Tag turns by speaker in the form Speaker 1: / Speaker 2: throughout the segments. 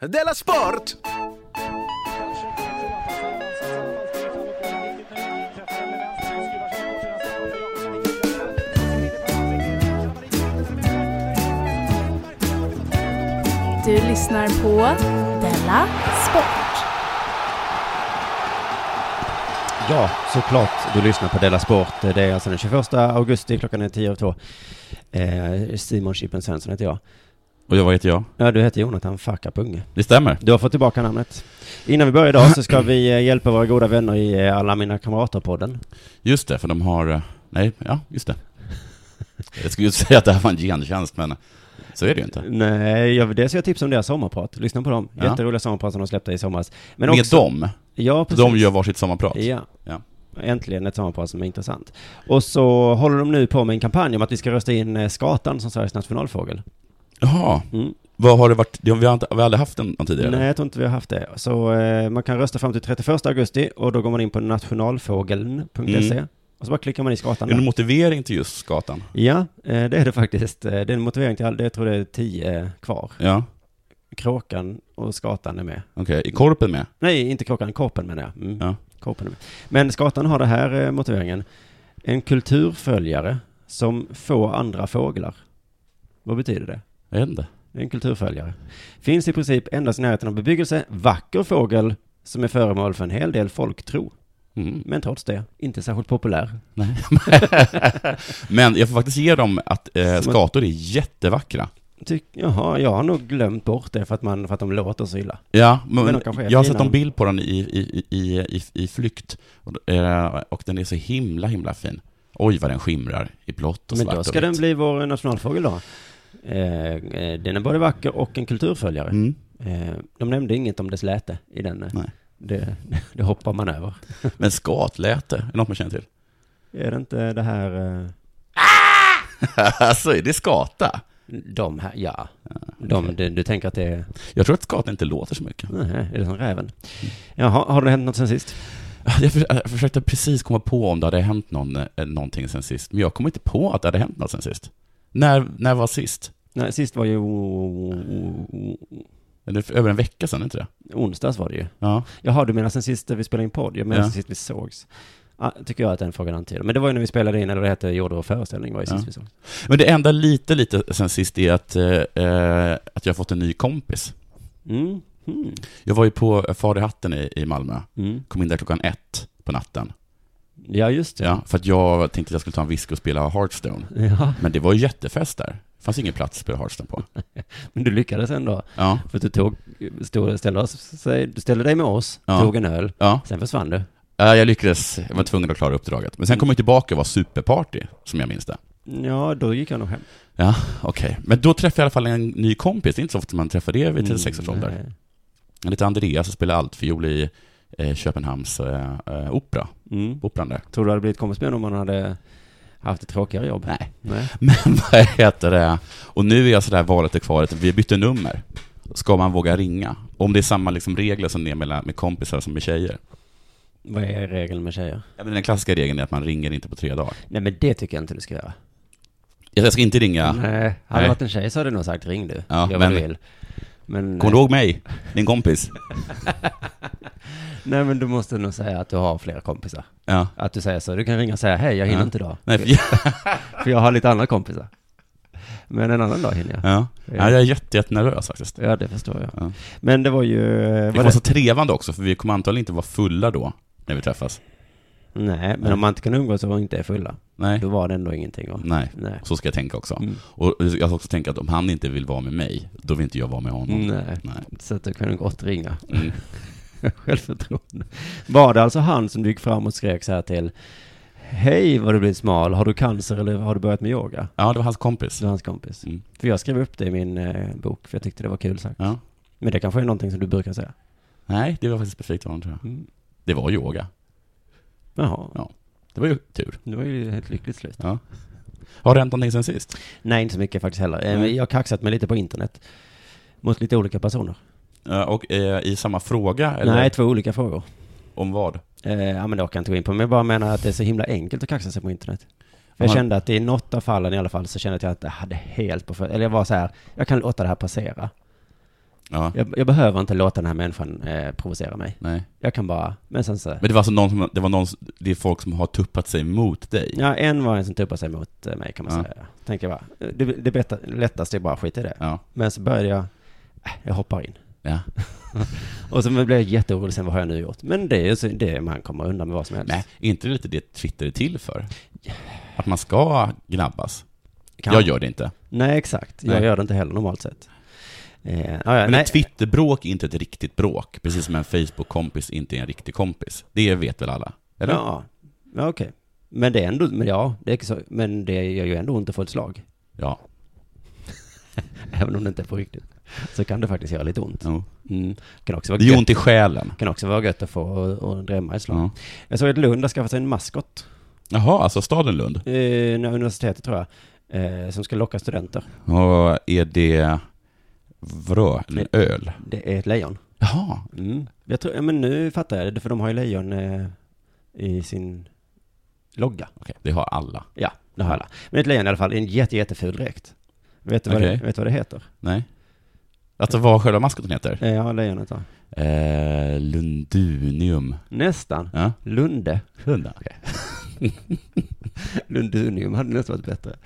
Speaker 1: Della Sport!
Speaker 2: Du lyssnar på Della Sport.
Speaker 3: Ja, såklart du lyssnar på Della Sport. Det är alltså den 21 augusti, klockan är 10 över 2. Eh, Simon Chippen Svensson heter jag.
Speaker 4: Och jag, vad heter jag?
Speaker 3: Ja, du heter Jonathan Fackapunge.
Speaker 4: Det stämmer.
Speaker 3: Du har fått tillbaka namnet. Innan vi börjar idag så ska vi eh, hjälpa våra goda vänner i eh, Alla Mina Kamrater-podden.
Speaker 4: Just det, för de har... eh, Nej, ja, just det. Jag skulle ju säga att det här var en gentjänst, men så är det ju inte.
Speaker 3: Nej, jag, dels har jag tips om deras sommarprat. Lyssna på dem.
Speaker 4: Ja.
Speaker 3: Jätteroliga sommarprat som de släppte i somras. Men
Speaker 4: Med
Speaker 3: också-
Speaker 4: dem.
Speaker 3: Ja, precis.
Speaker 4: De gör varsitt sommarprat.
Speaker 3: Ja.
Speaker 4: Ja.
Speaker 3: Äntligen ett sommarprat som är intressant. Och så håller de nu på med en kampanj om att vi ska rösta in eh, skatan som Sveriges nationalfågel.
Speaker 4: Jaha.
Speaker 3: Mm.
Speaker 4: Vad har det varit? det har Vi har, inte, vi har aldrig haft en någon tidigare?
Speaker 3: Nej, jag tror inte vi har haft det. Så eh, man kan rösta fram till 31 augusti och då går man in på nationalfågeln.se
Speaker 4: Mm.
Speaker 3: och så bara klickar man i skatan
Speaker 4: Är det en
Speaker 3: där.
Speaker 4: motivering till just skatan?
Speaker 3: Ja, eh, det är det faktiskt. Eh, Det är en motivering till all, det jag tror det är 10 eh, kvar.
Speaker 4: Ja,
Speaker 3: Kråkan och skatan är med.
Speaker 4: okej. Är korpen med?
Speaker 3: Nej, inte kråkan, korpen menar jag. Mm.
Speaker 4: Ja.
Speaker 3: Korpen är med. Men skatan har det här eh, motiveringen. En kulturföljare som få andra fåglar. Vad betyder det?
Speaker 4: Jag vet inte.
Speaker 3: Det är en kulturföljare. Finns i princip endast i närheten av bebyggelse, vacker fågel som är föremål för en hel del folktro.
Speaker 4: Mm.
Speaker 3: Men trots det, inte särskilt populär.
Speaker 4: Nej. men jag får faktiskt ge dem att eh,
Speaker 3: Som-
Speaker 4: skator är jättevackra.
Speaker 3: Ty- Jaha, jag har nog glömt bort det för att, man, för att de låter så illa.
Speaker 4: Ja, men,
Speaker 3: Men de kanske är
Speaker 4: jag har
Speaker 3: fina.
Speaker 4: sett en bild på den i, i, i, i, i flykt, och, eh, och den är så himla, himla fin. Oj, vad den skimrar i blått och
Speaker 3: Men
Speaker 4: svart
Speaker 3: då
Speaker 4: och
Speaker 3: ska den
Speaker 4: vitt.
Speaker 3: bli vår nationalfågel då. Eh, eh, den är både vacker och en kulturföljare.
Speaker 4: Mm.
Speaker 3: Eh, de nämnde inget om dess läte i den. eh,
Speaker 4: Nej.
Speaker 3: Det, det hoppar man över.
Speaker 4: Men skatläte, är något man känner till?
Speaker 3: Är det inte det här... Eh,
Speaker 4: alltså, är det skata?
Speaker 3: de här, ja. De, du, du tänker att det är...
Speaker 4: Jag tror att skata inte låter så mycket.
Speaker 3: Nej, är det som räven?
Speaker 4: Mm.
Speaker 3: Jaha, har det hänt något sen sist?
Speaker 4: Jag, för, jag försökte precis komma på om det hade hänt någon, eh, någonting sen sist, men jag kom inte på att det hade hänt något sen sist. När, när var sist?
Speaker 3: Nej, sist var ju... o- o- o-
Speaker 4: Eller för, över en vecka sedan, inte det?
Speaker 3: Onsdags var det ju.
Speaker 4: Ja.
Speaker 3: Jaha, du menar sen sist vi spelade in podd? Jag menar
Speaker 4: Ja.
Speaker 3: sen sist vi sågs. Ah, tycker jag att den frågan antyder. Men det var ju när vi spelade in, eller det hette, gjorde vår föreställning, var ju sist
Speaker 4: Ja.
Speaker 3: vi sågs.
Speaker 4: Men det enda lite, lite sen sist är att, eh, eh, att jag har fått en ny kompis.
Speaker 3: Mm. Mm.
Speaker 4: Jag var ju på Far i hatten i, i Malmö.
Speaker 3: Mm.
Speaker 4: Kom in där klockan ett på natten.
Speaker 3: Ja, just det.
Speaker 4: Ja, för att jag tänkte att jag skulle ta en whisky och spela Hearthstone.
Speaker 3: Ja,
Speaker 4: Men det var ju jättefest där. Det fanns ingen plats att spela Hearthstone på.
Speaker 3: men du lyckades ändå.
Speaker 4: Ja,
Speaker 3: För att du tog, stod, ställde, oss, sig- du ställde dig med oss,
Speaker 4: Ja.
Speaker 3: tog en öl,
Speaker 4: ja.
Speaker 3: sen försvann du.
Speaker 4: Äh, Jag lyckades. Jag var tvungen att klara uppdraget. Men sen kom jag tillbaka och var superparty, som jag minns det.
Speaker 3: Ja, då gick jag nog hem.
Speaker 4: Ja, okej. Men då träffade jag i alla fall en ny kompis. Det är inte så ofta man träffar det vid 36 års ålder.
Speaker 3: Mm, nej.
Speaker 4: Han heter Andreas och spelar altfiol i eh, Köpenhamns eh, eh, opera.
Speaker 3: Mm.
Speaker 4: Operan där.
Speaker 3: Tror du det hade blivit kompis med honom om han hade haft ett tråkigare jobb?
Speaker 4: Nej.
Speaker 3: Nej.
Speaker 4: Men vad heter det? Och nu är jag sådär valet och kvalet, vi bytte nummer. Ska man våga ringa? Om det är samma liksom regler som det är mellan- med kompisar som med tjejer.
Speaker 3: Vad är regeln med tjejer?
Speaker 4: Ja, men Den klassiska regeln är att man ringer inte på tre dagar.
Speaker 3: Nej, men det tycker jag inte du ska göra.
Speaker 4: Jag ska inte ringa.
Speaker 3: Nej, hade det
Speaker 4: Nej.
Speaker 3: varit en tjej så hade du nog sagt ring du.
Speaker 4: Ja,
Speaker 3: Gör vad
Speaker 4: men-
Speaker 3: du vill. Men,
Speaker 4: Kommer du ihåg mig? Din kompis?
Speaker 3: nej, men du måste nog säga att du har fler kompisar.
Speaker 4: Ja.
Speaker 3: Att du säger så. Du kan ringa och säga hej, jag hinner
Speaker 4: Ja.
Speaker 3: inte idag.
Speaker 4: Nej, för,
Speaker 3: För jag har lite andra kompisar. Men en annan dag hinner jag.
Speaker 4: ja. ja, jag är jätte, jättenervös faktiskt.
Speaker 3: Ja, det förstår jag.
Speaker 4: Ja.
Speaker 3: Men det var ju...
Speaker 4: Det
Speaker 3: var
Speaker 4: kommer vara så trevande också, för vi kommer antagligen inte vara fulla då, när vi träffas.
Speaker 3: Nej, men om man inte kan umgås och inte är fulla,
Speaker 4: Nej.
Speaker 3: då var det ändå ingenting. Va?
Speaker 4: Nej.
Speaker 3: Nej.
Speaker 4: Så ska jag tänka också.
Speaker 3: Mm.
Speaker 4: Och jag ska också tänka att om han inte vill vara med mig, då vill inte jag vara med honom.
Speaker 3: Nej.
Speaker 4: Nej.
Speaker 3: Så att du kunde gott ringa.
Speaker 4: Mm.
Speaker 3: Självförtroende. Var det alltså han som du gick fram och skrek så här till Hej vad du blivit smal, har du cancer eller har du börjat med yoga?
Speaker 4: Ja, det var hans kompis.
Speaker 3: Det var hans kompis.
Speaker 4: Mm.
Speaker 3: För jag skrev upp det i min eh, bok, för jag tyckte det var kul sagt.
Speaker 4: Ja.
Speaker 3: Men det kanske är någonting som du brukar säga?
Speaker 4: Nej, det var faktiskt perfekt av honom tror jag.
Speaker 3: Mm.
Speaker 4: Det var yoga.
Speaker 3: Jaha,
Speaker 4: Ja. Det var ju tur.
Speaker 3: det var ju ett lyckligt slut.
Speaker 4: Ja. Har det hänt någonting sen sist?
Speaker 3: Nej, inte så mycket faktiskt heller. Eh,
Speaker 4: Nej.
Speaker 3: Jag har kaxat mig lite på internet. Mot lite olika personer.
Speaker 4: Ja, Och eh, i samma fråga? Eller
Speaker 3: Nej, två olika frågor.
Speaker 4: Om vad?
Speaker 3: Eh, ja, men det orkar jag inte gå in på. Men jag bara menar att det är så himla enkelt att kaxa sig på internet. För jag
Speaker 4: Aha.
Speaker 3: kände att i något av fallen i alla fall så kände jag att jag inte hade helt på för... Eller jag var så här, jag kan låta det här passera.
Speaker 4: Ja.
Speaker 3: Jag, jag behöver inte låta den här människan eh, provocera mig.
Speaker 4: Nej.
Speaker 3: Jag kan bara, men sen så...
Speaker 4: Men det var alltså någon som, det var någon, det är folk som har tuppat sig mot dig.
Speaker 3: Ja, en var en som tuppade sig mot eh, mig kan man
Speaker 4: Ja.
Speaker 3: säga. Tänker jag bara, det, det bästa, lättaste är bara att skita i det.
Speaker 4: Ja.
Speaker 3: Men så började jag, äh, jag hoppar in.
Speaker 4: ja.
Speaker 3: Och så blev jag jätteorolig sen, vad har jag nu gjort? Men det är ju så- det, är- man kommer undan med vad som helst.
Speaker 4: Nej, är inte det lite det Twitter är till för? Att man ska gnabbas.
Speaker 3: Kan-
Speaker 4: Jag gör det inte.
Speaker 3: Nej, exakt. Jag
Speaker 4: Nej.
Speaker 3: gör det inte heller normalt sett. Eh, ah, ja,
Speaker 4: Men
Speaker 3: nej,
Speaker 4: ett Twitterbråk är inte ett riktigt bråk, precis som en Facebook-kompis inte är en riktig kompis. Det vet väl alla? Eller?
Speaker 3: Ja, ja okej. Men det är ändå, men ja, det är så, men det gör ju ändå ont att få ett slag.
Speaker 4: Ja.
Speaker 3: Även om det inte är på riktigt. Så kan det faktiskt göra lite ont.
Speaker 4: Jo.
Speaker 3: Mm. Kan också vara
Speaker 4: Det gör
Speaker 3: gött,
Speaker 4: ont i själen.
Speaker 3: kan också vara gött att få och, och drämma ett slag.
Speaker 4: Ja.
Speaker 3: Jag såg att Lund har skaffat sig en maskot,
Speaker 4: Jaha, alltså staden Lund.
Speaker 3: eh, när universitetet tror jag, eh, som ska locka studenter.
Speaker 4: Och är det vrö, en öl?
Speaker 3: Det är ett lejon.
Speaker 4: Jaha,
Speaker 3: Mm. Jag tror, ja, men nu fattar jag det, för de har ju lejon eh, i sin logga.
Speaker 4: okej, det har alla.
Speaker 3: Ja, det har alla. Men ett lejon i alla fall, i en jätte, jätteful dräkt. Vet du vad,
Speaker 4: Okej.
Speaker 3: det, vet du vad det heter?
Speaker 4: Nej? Alltså vad själva maskoten heter?
Speaker 3: Eh, Ja, lejonet då.
Speaker 4: Eh, Lundunium.
Speaker 3: Nästan.
Speaker 4: Ja,
Speaker 3: Lunde.
Speaker 4: Lunda. Okej.
Speaker 3: Lundunium hade nästan varit bättre.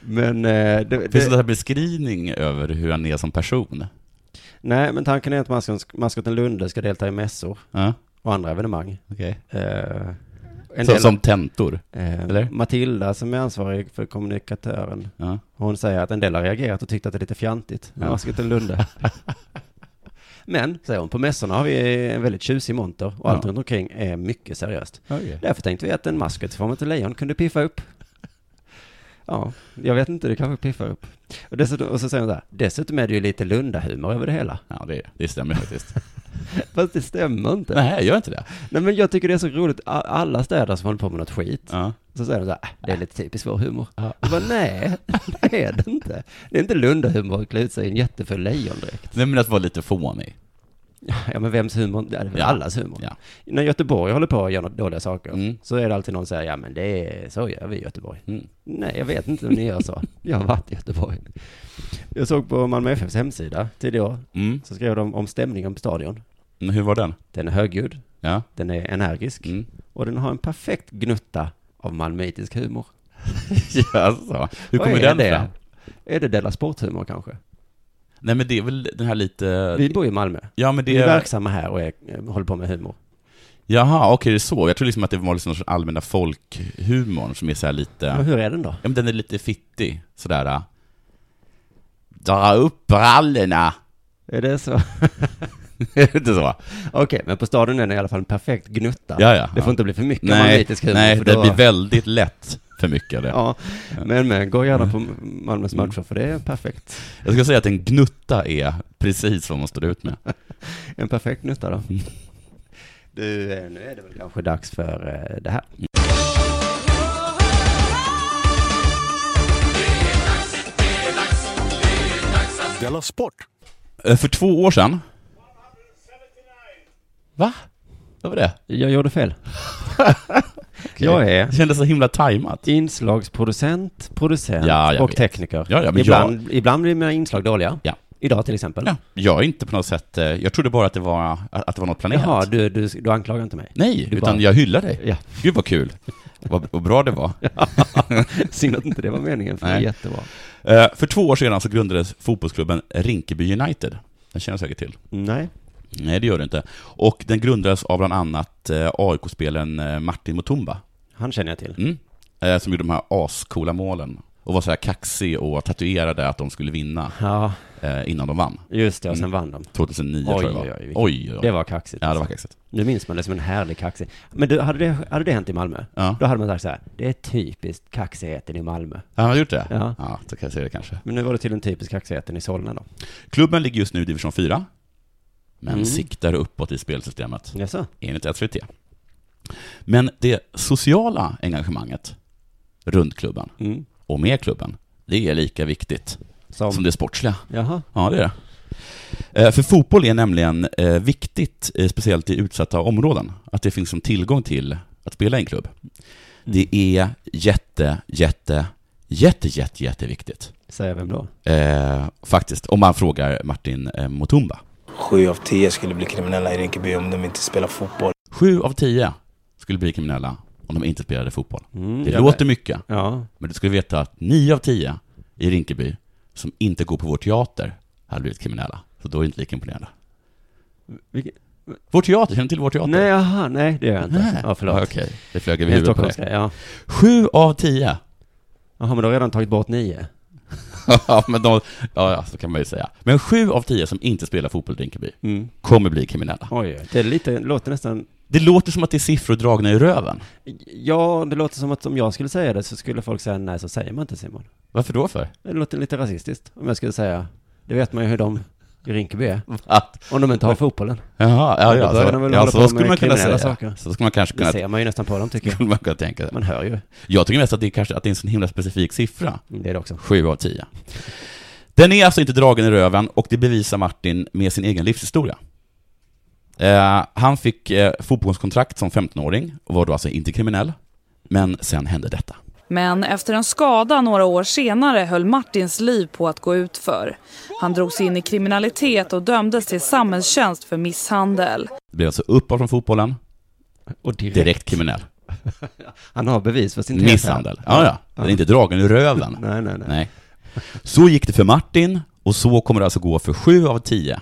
Speaker 3: Men, eh, det,
Speaker 4: Finns det
Speaker 3: det,
Speaker 4: någon beskrivning över hur han är som person?
Speaker 3: nej, men tanken är att maskot- maskoten Lunde ska delta i mässor
Speaker 4: Ja,
Speaker 3: och andra evenemang.
Speaker 4: okej.
Speaker 3: Eh, en
Speaker 4: Så,
Speaker 3: del-
Speaker 4: som tentor?
Speaker 3: eh,
Speaker 4: eller?
Speaker 3: Matilda som är ansvarig för kommunikatören,
Speaker 4: Ja.
Speaker 3: hon säger att en del har reagerat och tyckt att det är lite fjantigt med
Speaker 4: Ja.
Speaker 3: maskoten Lunde. Men, säger hon, på mässorna har vi en väldigt tjusig monter och allt
Speaker 4: Ja.
Speaker 3: runt omkring är mycket seriöst.
Speaker 4: Okay.
Speaker 3: Därför tänkte vi att en maskot i form av ett lejon kunde piffa upp. Ja, jag vet inte, det kanske piffar upp. Och, dessutom, och så säger han så här, dessutom är det ju lite lundahumor över det hela.
Speaker 4: Ja, det, det stämmer faktiskt.
Speaker 3: Fast det stämmer inte. Nej.
Speaker 4: Nej, gör inte det?
Speaker 3: men jag tycker det är så roligt, A- alla städer som håller på med något skit,
Speaker 4: Ja.
Speaker 3: så säger de så här, "Äh, det är lite typiskt vår humor. Jag bara, nej, det är det inte. Det är inte lundahumor att klä ut sig i en jättefull lejondräkt.
Speaker 4: Nej, men att vara lite fånig.
Speaker 3: Ja, men vems humor? Ja, det är väl
Speaker 4: Ja.
Speaker 3: allas humor.
Speaker 4: Ja.
Speaker 3: När Göteborg håller på och gör något dåliga saker,
Speaker 4: Mm.
Speaker 3: så är det alltid någon som säger, ja men det är, så gör vi i Göteborg.
Speaker 4: Mm.
Speaker 3: Nej, jag vet inte om ni gör så. Jag har varit i Göteborg. Jag såg på Malmö FFs hemsida tidigare år,
Speaker 4: Mm.
Speaker 3: så skrev de om stämningen på stadion.
Speaker 4: Men Hur var den?
Speaker 3: Den är högljudd,
Speaker 4: Ja.
Speaker 3: den är energisk
Speaker 4: Mm.
Speaker 3: och den har en perfekt gnutta av malmöitisk humor.
Speaker 4: Jaså. Hur
Speaker 3: Vad
Speaker 4: kommer
Speaker 3: är
Speaker 4: den
Speaker 3: det?
Speaker 4: fram?
Speaker 3: Är det Della Sporthumor kanske?
Speaker 4: Nej, men det är väl den här lite...
Speaker 3: Vi bor i Malmö.
Speaker 4: Ja, men det
Speaker 3: Vi är
Speaker 4: är...
Speaker 3: verksamma här och är, eh, håller på med humor.
Speaker 4: Jaha, okej, det är så. Jag tror liksom att det var liksom någon sorts allmänna folkhumorn som är så här lite...
Speaker 3: Men hur är den då?
Speaker 4: Ja, men den är lite fittig, sådär. äh. Dra upp brallorna!
Speaker 3: Är det så?
Speaker 4: Är det inte så?
Speaker 3: Okej, men på stadion är den i alla fall en perfekt gnutta.
Speaker 4: Ja, ja.
Speaker 3: Det får
Speaker 4: ja.
Speaker 3: inte bli för mycket
Speaker 4: Nej,
Speaker 3: malmöitisk humor.
Speaker 4: nej
Speaker 3: för
Speaker 4: det
Speaker 3: då-
Speaker 4: blir väldigt lätt för mycket av det.
Speaker 3: Ja, Mm. men, men gå gärna på Malmös matcher för det är perfekt.
Speaker 4: Jag ska säga att en gnutta är precis vad man står ut med.
Speaker 3: En perfekt nytta då. Du, eh, nu är det väl kanske dags för eh, det här.
Speaker 1: Della Sport!
Speaker 4: Eh, För två år sedan... Va? Vad var det?
Speaker 3: Jag gjorde fel. Jag är
Speaker 4: Det kändes så himla tajmat.
Speaker 3: inslagsproducent, producent
Speaker 4: Ja, jag
Speaker 3: och
Speaker 4: vet.
Speaker 3: tekniker.
Speaker 4: Ja, ja, men
Speaker 3: ibland, ibland blir mina inslag dåliga.
Speaker 4: Ja.
Speaker 3: Idag till exempel.
Speaker 4: Ja, jag är inte på något sätt... eh, Jag trodde bara att det var, att det var något planerat.
Speaker 3: Jaha, du, du, du anklagar inte mig?
Speaker 4: Nej,
Speaker 3: Du
Speaker 4: utan
Speaker 3: bara-
Speaker 4: jag hyllar dig.
Speaker 3: Ja,
Speaker 4: Gud vad kul. Vad, vad bra det var.
Speaker 3: synd att inte det var meningen, för det är
Speaker 4: Nej.
Speaker 3: jättebra.
Speaker 4: Eh, För två år sedan så grundades fotbollsklubben Rinkeby United. Den känner jag säkert till.
Speaker 3: Nej.
Speaker 4: Nej, det gör det inte. Och den grundades av bland annat eh, AIK-spelaren eh, Martin Mutumba,
Speaker 3: Han känner jag till.
Speaker 4: mm. Eh, som gjorde de här ascoola målen. Och var så här kaxig och tatuerade att de skulle vinna
Speaker 3: Ja,
Speaker 4: eh, innan de vann.
Speaker 3: just det, och sen vann de.
Speaker 4: 2009
Speaker 3: Oj,
Speaker 4: tror jag det var.
Speaker 3: oj, oj, vilket-
Speaker 4: oj, oj.
Speaker 3: Det var kaxigt.
Speaker 4: Mm. Ja, det var kaxigt.
Speaker 3: Nu minns man det som en härlig kaxig. Men du, hade det, hade det hänt i Malmö?
Speaker 4: Ja.
Speaker 3: Då hade man sagt så här, det är typiskt kaxigheten i Malmö.
Speaker 4: Han har gjort det?
Speaker 3: Ja.
Speaker 4: ja, så kan jag säga det kanske.
Speaker 3: Men nu var det till den typiska kaxigheten i Solna då.
Speaker 4: Klubben ligger just nu i division 4, men
Speaker 3: Mm.
Speaker 4: siktar uppåt i spelsystemet.
Speaker 3: Jaså?
Speaker 4: enligt SVT. Men det sociala engagemanget runt klubben
Speaker 3: Mm.
Speaker 4: och med klubben, det är lika viktigt
Speaker 3: Som,
Speaker 4: som det sportsliga.
Speaker 3: Jaha.
Speaker 4: Ja, det är det. Eh, För fotboll är nämligen eh, viktigt, eh, speciellt i utsatta områden, att det finns som tillgång till att spela i en klubb. Det är jätte, jätte, jätte, jätte, jätteviktigt.
Speaker 3: Säga vem då?
Speaker 4: Eh, faktiskt, om man frågar Martin eh, Mutumba.
Speaker 5: Sju av tio skulle bli kriminella i Rinkeby om de inte spelar fotboll.
Speaker 4: Sju av tio skulle bli kriminella om de inte spelade fotboll.
Speaker 3: Mm,
Speaker 4: Det
Speaker 3: jag-
Speaker 4: låter mycket,
Speaker 3: Ja,
Speaker 4: men du skulle veta att nio av tio i Rinkeby som inte går på vår teater hade blivit kriminella. Så då är det inte lika imponerande.
Speaker 3: Vilken-
Speaker 4: Vår teater, känner du till vår teater?
Speaker 3: Nej, jaha, nej, det gör jag inte.
Speaker 4: Nej.
Speaker 3: Ja, förlåt.
Speaker 4: Okej, det flög
Speaker 3: Det
Speaker 4: över
Speaker 3: är en
Speaker 4: huvudet på dig.
Speaker 3: Stockholmsgrej, ja.
Speaker 4: Sju av tio.
Speaker 3: Jaha, men du har redan tagit bort nio.
Speaker 4: ja, men de, ja, ja, så kan man ju säga. Men sju av tio som inte spelar fotboll i Rinkeby
Speaker 3: Mm.
Speaker 4: kommer bli kriminella.
Speaker 3: Oj, det är lite, låter nästan...
Speaker 4: Det låter som att det är siffror dragna i röven.
Speaker 3: Ja, det låter som att om jag skulle säga det så skulle folk säga nej, så säger man inte Simon.
Speaker 4: Varför då för?
Speaker 3: Det låter lite rasistiskt om jag skulle säga. Det vet man ju hur de i Rinkeby är.
Speaker 4: Att,
Speaker 3: Om de inte har fotbollen.
Speaker 4: jaha, ja,
Speaker 3: Då
Speaker 4: ja,
Speaker 3: börjar de
Speaker 4: så,
Speaker 3: väl
Speaker 4: ja,
Speaker 3: hålla
Speaker 4: så
Speaker 3: på
Speaker 4: skulle
Speaker 3: med
Speaker 4: man kunna säga.
Speaker 3: kriminella saker.
Speaker 4: Så skulle man kanske
Speaker 3: Det
Speaker 4: kunna,
Speaker 3: ser man ju nästan på dem tycker jag.
Speaker 4: skulle man kunna tänka sig.
Speaker 3: Man hör ju.
Speaker 4: Jag tycker mest att det kanske att det är en sån himla specifik siffra.
Speaker 3: Det är det också.
Speaker 4: Sju av tio. Den är alltså inte dragen i röven och det bevisar Martin med sin egen livshistoria. Eh, han fick eh, fotbollskontrakt som 15-åring och var då alltså inte kriminell. Men sen hände detta.
Speaker 6: Men efter en skada några år senare höll Martins liv på att gå ut för. Han drogs in i kriminalitet och dömdes till samhällstjänst för misshandel.
Speaker 4: Blev alltså uppåt från fotbollen,
Speaker 3: Och direkt.
Speaker 4: direkt kriminell.
Speaker 3: Han har bevis för sin tesa.
Speaker 4: Misshandel. Ja, ja. Den är inte dragen i röven.
Speaker 3: Nej, nej, nej.
Speaker 4: Nej. Så gick det för Martin och så kommer det alltså gå för sju av tio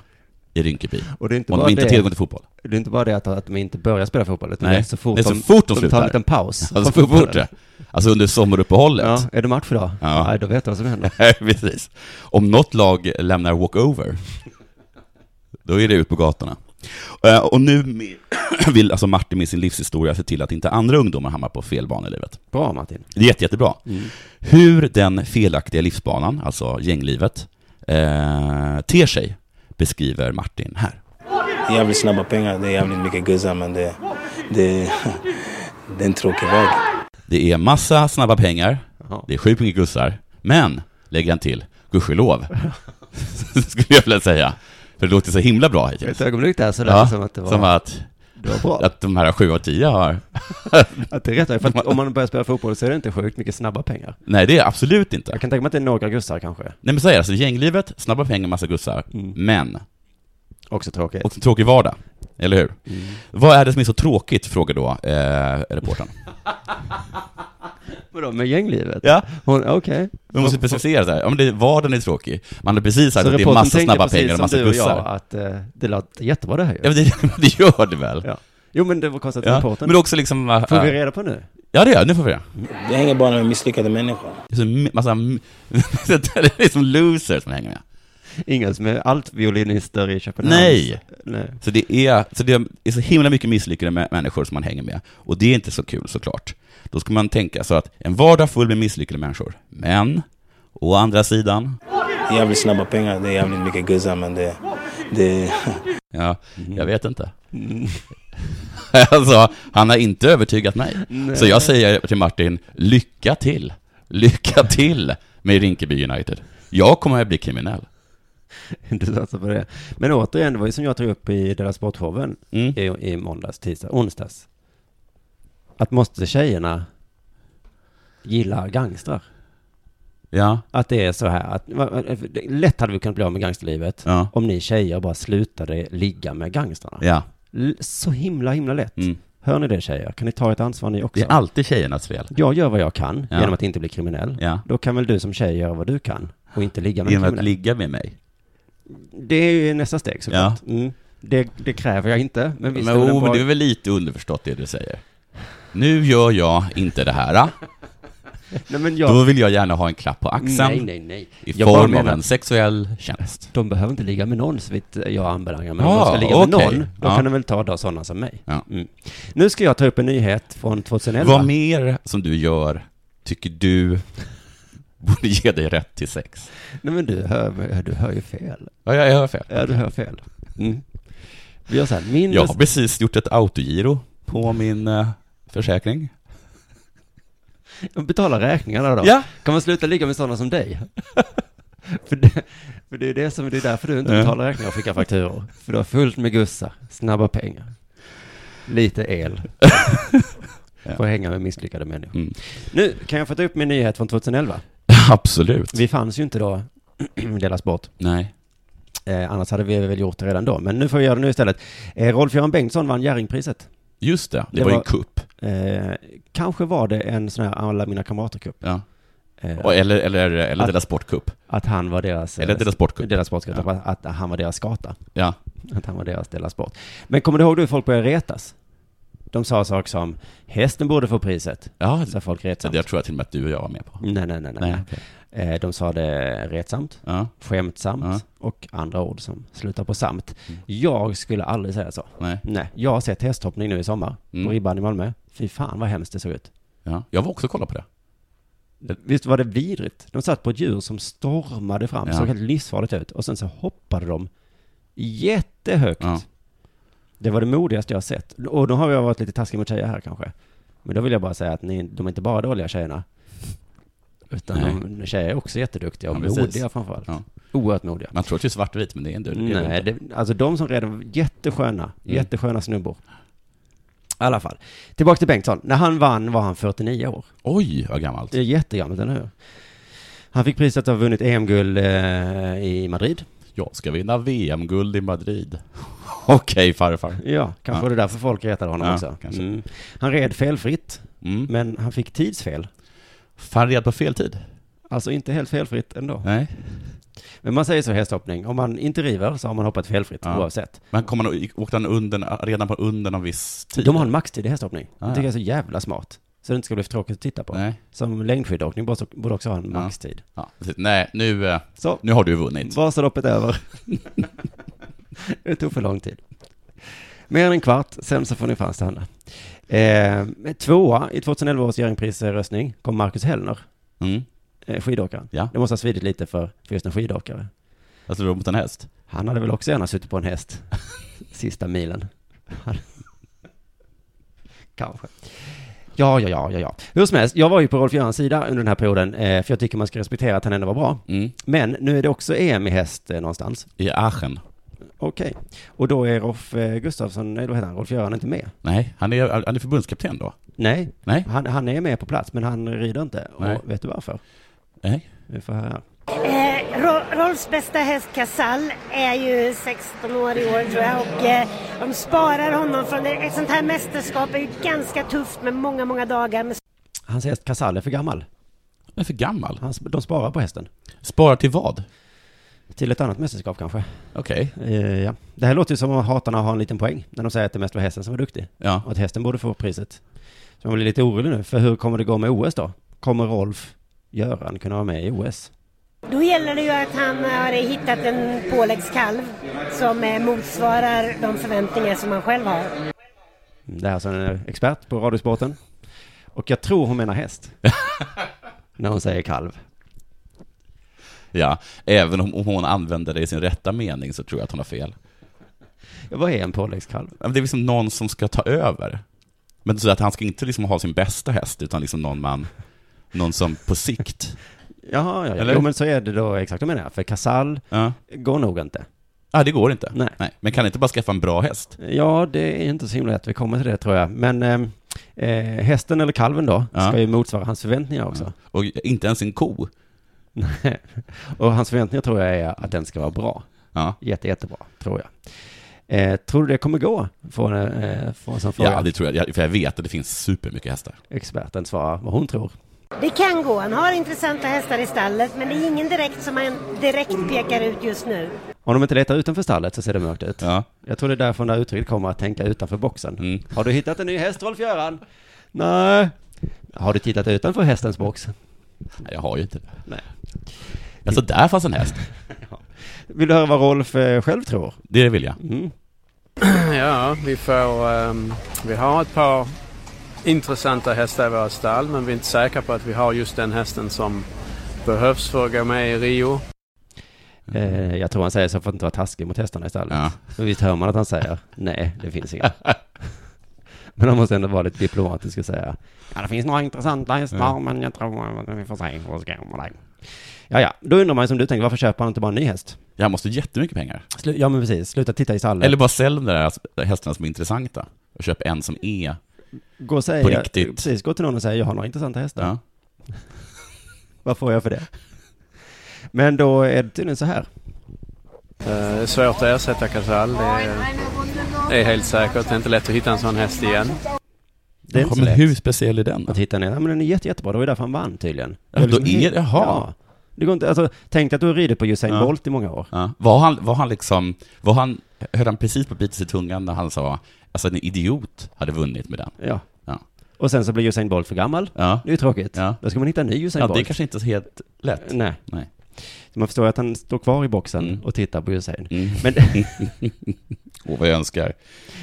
Speaker 4: i Rinkeby.
Speaker 3: Och det är inte
Speaker 4: Om
Speaker 3: bara
Speaker 4: de inte har
Speaker 3: det.
Speaker 4: tillgång till fotboll.
Speaker 3: Det är inte bara det att, att de inte börjar spela fotboll, utan
Speaker 4: Nej,
Speaker 3: det är så fort
Speaker 4: det är så
Speaker 3: de,
Speaker 4: fort de
Speaker 3: tar
Speaker 4: slutar.
Speaker 3: en liten paus.
Speaker 4: Alltså,
Speaker 3: från
Speaker 4: för
Speaker 3: fotbollen.
Speaker 4: fort det. alltså under sommaruppehållet.
Speaker 3: Ja, är det match idag?
Speaker 4: Ja.
Speaker 3: Nej, då vet jag vad som händer.
Speaker 4: Precis. Om något lag lämnar walkover, då är det ut på gatorna. Eh, Och nu med- vill alltså Martin med sin livshistoria se till att inte andra ungdomar hamnar på fel bana i livet.
Speaker 3: Bra Martin.
Speaker 4: Det är jätte, jättebra.
Speaker 3: Mm.
Speaker 4: Hur den felaktiga livsbanan, alltså gänglivet, eh, ter sig beskriver Martin här.
Speaker 5: Det är jävligt snabba pengar, det är jävligt mycket guzzar men det, det, det är en tråkig väg.
Speaker 4: Det är massa snabba pengar,
Speaker 3: Jaha.
Speaker 4: det är sjukt mycket gussar, men, lägger han till, gudskelov, skulle jag vilja säga. För det låter så himla bra hittills.
Speaker 3: Ett ögonblick där så lät det som att det var,
Speaker 4: som att,
Speaker 3: det var bra.
Speaker 4: att de här sju av tio har...
Speaker 3: Att det är rätt, för att om man börjar spela fotboll så är det inte sjukt mycket snabba pengar.
Speaker 4: Nej, det är absolut inte.
Speaker 3: Jag kan tänka mig att det är några gussar kanske.
Speaker 4: Nej men så är det, alltså gänglivet, snabba pengar, massa gussar,
Speaker 3: Mm.
Speaker 4: men
Speaker 3: Också tråkigt.
Speaker 4: också tråkig vardag. Eller hur?
Speaker 3: Mm.
Speaker 4: Vad är det som är så tråkigt, frågar då eh, reportern.
Speaker 3: Vadå, med gänglivet?
Speaker 4: Ja.
Speaker 3: Hon, okej.
Speaker 4: Man måste specificera det här. Ja, men det, vardagen är tråkig. Man har precis sagt
Speaker 3: Så
Speaker 4: att det är
Speaker 3: reportern
Speaker 4: massa
Speaker 3: tänkte
Speaker 4: snabba
Speaker 3: precis
Speaker 4: pengar och
Speaker 3: som
Speaker 4: massa
Speaker 3: du och
Speaker 4: gussar.
Speaker 3: jag, att eh, det lät jättebra det här ju.
Speaker 4: Ja, men det, det gör det väl?
Speaker 3: Ja. Jo men det var konstigt att
Speaker 4: Ja.
Speaker 3: reportern...
Speaker 4: Men också liksom... äh,
Speaker 3: Får vi reda på nu?
Speaker 4: Ja, det gör jag. Nu får vi det.
Speaker 5: Jag hänger bara med misslyckade människor.
Speaker 4: Det är så m- massa... m- det är liksom losers man hänger med.
Speaker 3: Ingen som är allt violinister i Köpenhamn?
Speaker 4: Nej.
Speaker 3: Nej.
Speaker 4: Så det, är, så det är så himla mycket misslyckade mä- människor som man hänger med. Och det är inte så kul såklart. Då ska man tänka så att en vardag full med misslyckade människor. Men, å andra sidan...
Speaker 5: Det är jävligt snabba pengar, det är jävligt mycket guzzar men det, det,
Speaker 4: Ja,
Speaker 3: Mhm.
Speaker 4: jag vet inte.
Speaker 3: Mm.
Speaker 4: alltså, han har inte övertygat mig. Så jag säger till Martin, lycka till. Lycka till med Rinkeby United. Jag kommer att bli kriminell.
Speaker 3: Inte satsa på det. Men återigen, det var ju som jag tog upp i deras sportshowen
Speaker 4: Mm.
Speaker 3: i, i måndags, tisdag, onsdags. Att måste tjejerna gilla gangstrar?
Speaker 4: Ja,
Speaker 3: Att det är så här att, va- va- lätt hade vi kunnat bli av med gangsterlivet
Speaker 4: Ja.
Speaker 3: om ni tjejer bara slutade ligga med gangstrarna.
Speaker 4: ja.
Speaker 3: L- Så himla, himla lätt.
Speaker 4: Mm.
Speaker 3: Hör ni det tjejer? Kan ni ta ett ansvar ni också?
Speaker 4: Det är alltid tjejernas fel.
Speaker 3: Jag gör vad jag kan
Speaker 4: Ja.
Speaker 3: genom att inte bli kriminell.
Speaker 4: Ja.
Speaker 3: Då kan väl du som tjej göra vad du kan och inte ligga med en
Speaker 4: Genom att
Speaker 3: kriminell.
Speaker 4: ligga med mig.
Speaker 3: det är ju nästa steg såklart. Mm. Det, det kräver jag inte, men visst
Speaker 4: Men,
Speaker 3: är det
Speaker 4: oh,
Speaker 3: en
Speaker 4: men
Speaker 3: bra...
Speaker 4: det är väl lite underförstått det du säger. Nu gör jag inte det här. ah.
Speaker 3: Nej, men jag... Mm,
Speaker 4: Då vill jag gärna ha en klapp på axeln
Speaker 3: nej, nej, nej.
Speaker 4: i
Speaker 3: Jag bara
Speaker 4: form av
Speaker 3: menar-
Speaker 4: en sexuell tjänst.
Speaker 3: De behöver inte ligga med någon, så vitt jag anbelangar. Men om
Speaker 4: Ja,
Speaker 3: de ska ligga med
Speaker 4: Ah, okej.
Speaker 3: någon, då
Speaker 4: Ja.
Speaker 3: kan de väl ta då sådana som mig.
Speaker 4: Ja.
Speaker 3: Mm. Nu ska jag ta upp en nyhet från 2011.
Speaker 4: Vad mer som du gör tycker du borde ge dig rätt till sex?
Speaker 3: Nej, men du hör, du hör ju fel.
Speaker 4: Ja, jag hör fel.
Speaker 3: Ja, du hör fel. Mm. Vi gör så här, min...
Speaker 4: Jag har precis gjort ett autogiro på min eh, försäkring.
Speaker 3: Betala räkningarna då.
Speaker 4: Ja.
Speaker 3: Kan man sluta ligga med sådana som dig? för, det, för det är det som, det är därför du inte
Speaker 4: Ja.
Speaker 3: betalar räkningar och skickar fakturor. För du har fullt med gussar, snabba pengar, lite el. Får hänga med misslyckade människor.
Speaker 4: Mm.
Speaker 3: Nu kan jag få ta upp min nyhet från 2011.
Speaker 4: Absolut.
Speaker 3: Vi fanns ju inte då, Dela Sport.
Speaker 4: Nej.
Speaker 3: Eh, annars hade vi väl gjort det redan då. Men nu får vi göra det nu istället. Eh, Rolf-Göran Bengtsson vann Jerringpriset.
Speaker 4: Just det, det,
Speaker 3: Det
Speaker 4: var ju en
Speaker 3: var-
Speaker 4: kupp.
Speaker 3: Eh, kanske var det en sån här alla mina kamrater-cup.
Speaker 4: Ja.
Speaker 3: Eh,
Speaker 4: Och- Eller, eller, eller
Speaker 3: Att-
Speaker 4: Della Sportcup.
Speaker 3: Att han var deras... eh,
Speaker 4: Eller Della Sportcup.
Speaker 3: Dela Sport, ska jag
Speaker 4: Ja.
Speaker 3: ta på, att han var deras skata.
Speaker 4: Ja.
Speaker 3: Att han var deras Dela Sport. Men kommer du ihåg då hur folk började retas? De sa saker som hästen borde få priset.
Speaker 4: Ja,
Speaker 3: Så folk
Speaker 4: det,
Speaker 3: retsamt.
Speaker 4: jag tror jag till och med att du och jag var med på.
Speaker 3: Nej, nej, nej. nej.
Speaker 4: Nej,
Speaker 3: nej. Eh, de sa det retsamt,
Speaker 4: Ja,
Speaker 3: skämtsamt
Speaker 4: Ja. Mm.
Speaker 3: och andra ord som slutar på samt. Jag skulle aldrig säga så.
Speaker 4: nej.
Speaker 3: Nej, jag har sett hästhoppning nu i sommar
Speaker 4: Mm.
Speaker 3: på ribban i Malmö. Fy fan vad hemskt det såg ut.
Speaker 4: Ja. Jag var också och kollade på det.
Speaker 3: Visst var det vidrigt? De satt på ett djur som stormade fram,
Speaker 4: Ja.
Speaker 3: såg helt livsfarligt ut. Och sen så hoppade de jättehögt.
Speaker 4: Ja.
Speaker 3: Det var det modigaste jag har sett. Och då har jag varit lite taskig mot tjejer här kanske. Men då vill jag bara säga att ni, de är inte bara dåliga tjejerna. Utan
Speaker 4: Nej.
Speaker 3: de, tjejer är också jätteduktiga och
Speaker 4: Ja, precis.
Speaker 3: modiga framförallt.
Speaker 4: Ja.
Speaker 3: Oerhört modiga.
Speaker 4: Man tror att det är svartvitt, men det är inte det. är det
Speaker 3: Nej,
Speaker 4: inte. Mm.
Speaker 3: det, alltså de som redan, jättesköna, jättesköna snubbor. I alla fall. Tillbaka till Bengtsson. När han vann var han 49 år.
Speaker 4: Oj, vad gammalt.
Speaker 3: Det är jättegammalt, eller hur? Han fick priset att ha vunnit EM-guld eh, i Madrid.
Speaker 4: Jag ska vinna VM-guld i Madrid. Okej, farfar.
Speaker 3: Ja, kanske
Speaker 4: Ja.
Speaker 3: var det därför folk retade honom
Speaker 4: Ja,
Speaker 3: också.
Speaker 4: kanske.
Speaker 3: Mm. Han red felfritt,
Speaker 4: Mm.
Speaker 3: men han fick tidsfel.
Speaker 4: Fan, red på fel tid.
Speaker 3: Alltså inte helt felfritt ändå.
Speaker 4: Nej.
Speaker 3: Men man säger så i hästhoppning, om man inte river så har man hoppat felfritt
Speaker 4: Ja.
Speaker 3: oavsett.
Speaker 4: Men kom han, åkte han under, redan på under någon viss tid?
Speaker 3: De har en maxtid i hästhoppning.
Speaker 4: Ah,
Speaker 3: det
Speaker 4: ja.
Speaker 3: tycker jag är så jävla smart. Så det inte ska bli för tråkigt att titta på.
Speaker 4: Nej.
Speaker 3: Som längdskidåkning borde också- borde också ha en maxtid.
Speaker 4: Ja, precis. Nej, nu, eh,
Speaker 3: Så,
Speaker 4: nu har du vunnit.
Speaker 3: Vasaloppet över. det tog för lång tid. Mer än en kvart, sen så får ni fan stanna. Eh, tvåa i 2011 års Jerringprisröstning kom Marcus Hellner,
Speaker 4: Mm.
Speaker 3: eh, skidåkaren.
Speaker 4: Ja.
Speaker 3: Det måste ha svidit lite för, för just en skidåkare.
Speaker 4: Alltså, du var mot en häst?
Speaker 3: Han hade väl också gärna suttit på en häst sista milen. Han- Kanske. Ja, ja, ja, ja, ja. Hur som helst, jag var ju på Rolf Görans sida under den här perioden, eh, för jag tycker man ska respektera att han ändå var bra.
Speaker 4: Mm.
Speaker 3: Men nu är det också EM i häst eh, någonstans.
Speaker 4: I Aachen?
Speaker 3: Okej. Och då är Rolf eh, Gustafsson, nej, vad heter han, Rolf-Göran inte med?
Speaker 4: Nej, han är, han är förbundskapten då?
Speaker 3: Nej,
Speaker 4: Nej.
Speaker 3: han, han är med på plats, men han rider inte.
Speaker 4: Nej.
Speaker 3: Och vet du varför?
Speaker 4: Nej.
Speaker 3: Vi får höra.
Speaker 7: Eh, Ro- Rolfs bästa häst Casall är ju 16 år i år tror jag och eh, de sparar honom från det. ett sånt här mästerskap är ju ganska tufft med många, många dagar med
Speaker 3: Hans häst Casall är för gammal.
Speaker 4: Han är för gammal.
Speaker 3: Han, de sparar på hästen.
Speaker 4: Sparar till vad?
Speaker 3: Till ett annat mästerskap kanske.
Speaker 4: Okej.
Speaker 3: Eh, ja. Det här låter ju som att hatarna har en liten poäng, när de säger att det mest var hästen som var duktig.
Speaker 4: Ja.
Speaker 3: Och att hästen borde få priset. Så man blir lite orolig nu, för hur kommer det gå med OS då? Kommer Rolf Göran kunna vara med i OS?
Speaker 7: Då gäller det ju att han har hittat en påläggskalv som eh, motsvarar de förväntningar som han själv har.
Speaker 3: Det här är alltså en expert på Radiosporten. Och jag tror hon menar häst. när hon säger kalv.
Speaker 4: ja. Även om, om hon använder det i sin rätta mening så tror jag att hon har fel.
Speaker 3: Ja, Vad är en påläggskalv?
Speaker 4: Ja, men Det är liksom någon som ska ta över. Men så att han ska inte liksom ha sin bästa häst, utan liksom någon man, någon som på sikt.
Speaker 3: Jaha, ja, ja.
Speaker 4: Eller?
Speaker 3: Jo, men så är det då exakt, jag menar jag. För Casall
Speaker 4: Ja.
Speaker 3: går nog inte.
Speaker 4: Ah, det går inte.
Speaker 3: Nej.
Speaker 4: Men kan inte bara skaffa en bra häst?
Speaker 3: Ja, det är inte så himla lätt. Vi kommer till det tror jag. Men eh, eh, hästen eller kalven då
Speaker 4: Ja.
Speaker 3: ska ju motsvara hans förväntningar också.
Speaker 4: Och inte ens en ko.
Speaker 3: Och hans förväntningar tror jag är att den ska vara bra.
Speaker 4: Ja.
Speaker 3: Jätte, jättebra, tror jag. Eh, tror du det kommer gå? Får en, eh, får en sån fråga.
Speaker 4: Ja, det tror jag. För jag vet att det finns supermycket hästar.
Speaker 3: Experten svarar vad hon tror.
Speaker 7: Det kan gå, han har intressanta hästar i stallet men det är ingen direkt som han direkt pekar ut just nu.
Speaker 3: Om de inte letar utanför stallet så ser det mörkt ut.
Speaker 4: Ja.
Speaker 3: Jag tror det är därför det här uttrycket kommer att tänka utanför boxen.
Speaker 4: Mm.
Speaker 3: Har du hittat en ny häst, Rolf-Göran? Nej. Har du tittat utanför hästens box?
Speaker 4: Nej, Jag har ju inte det.
Speaker 3: Nej.
Speaker 4: Alltså, där fanns en häst.
Speaker 3: Vill du höra vad Rolf eh, själv tror?
Speaker 4: Det vill jag.
Speaker 3: Mm.
Speaker 8: Ja, vi, får, ehm, vi har ett par intressanta hästar i våra stall men vi är inte säkra på att vi har just den hästen som behövs för att gå med i Rio.
Speaker 3: Eh, jag tror han säger så för att inte vara taskig mot hästarna i stallet.
Speaker 4: Ja.
Speaker 3: Men visst hör man att han säger nej, det finns inga. Men han måste ändå vara lite diplomatisk och säga ja, det finns några intressanta hästar, men jag tror att vi får se vad som går med det. Ja, ja, då undrar man ju som du tänker, varför köper han inte bara en ny häst?
Speaker 4: Jag måste jättemycket pengar.
Speaker 3: Slu- ja, men precis, sluta titta i stallet.
Speaker 4: Eller bara sälj de där hästarna som är intressanta. Och köp en som är...
Speaker 3: gå och säga,
Speaker 4: på riktigt.
Speaker 3: Precis, gå till någon och säg jag har några intressanta hästar.
Speaker 4: Ja.
Speaker 3: Vad får jag för det? Men då är det tydligen så här.
Speaker 8: Eh, Det är svårt att ersätta Casall. Det är, det är helt säkert. Det är inte lätt att hitta en sån häst igen.
Speaker 3: Det är inte så
Speaker 4: men
Speaker 3: lätt
Speaker 4: hur speciell är den? då?
Speaker 3: att hitta ner. Ja, men den är jätte, jättebra. Det var ju därför han vann tydligen.
Speaker 4: Ja, då är det- jaha.
Speaker 3: Ja. Det går inte, alltså, tänk dig att du har ridit på Usain
Speaker 4: Ja.
Speaker 3: Bolt i många år.
Speaker 4: Ja. Var, han, var han liksom, var han, höll han precis på att bita sig i tungan när han sa alltså en idiot hade vunnit med den?
Speaker 3: Ja.
Speaker 4: Ja.
Speaker 3: Och sen så blir Usain Bolt för gammal.
Speaker 4: Ja,
Speaker 3: Det är ju tråkigt.
Speaker 4: Ja.
Speaker 3: Då ska man hitta en ny Usain
Speaker 4: ja det är
Speaker 3: Bolt.
Speaker 4: kanske inte så helt lätt.
Speaker 3: Nej.
Speaker 4: Nej.
Speaker 3: Så man förstår ju att han står kvar i boxen
Speaker 4: Mm.
Speaker 3: och tittar på Usain.
Speaker 4: Mm.
Speaker 3: Men,
Speaker 4: Åh, vad jag önskar.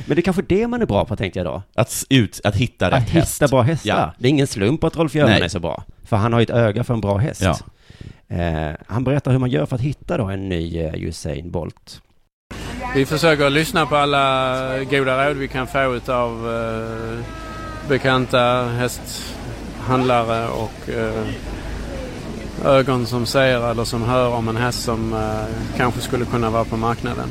Speaker 3: men det är kanske det man är bra på, tänkte jag då.
Speaker 4: Att, s- ut, att hitta rätt
Speaker 3: att hitta
Speaker 4: häst.
Speaker 3: bra hästar.
Speaker 4: Ja.
Speaker 3: Det är ingen slump att Rolf Göran
Speaker 4: Nej.
Speaker 3: är så bra. För han har ju ett öga för en bra häst.
Speaker 4: Ja.
Speaker 3: Eh, han berättar hur man gör för att hitta då en ny eh, Usain Bolt.
Speaker 8: Vi försöker lyssna på alla goda råd vi kan få av bekanta hästhandlare och eh, ögon som ser eller som hör om en häst som eh, kanske skulle kunna vara på marknaden.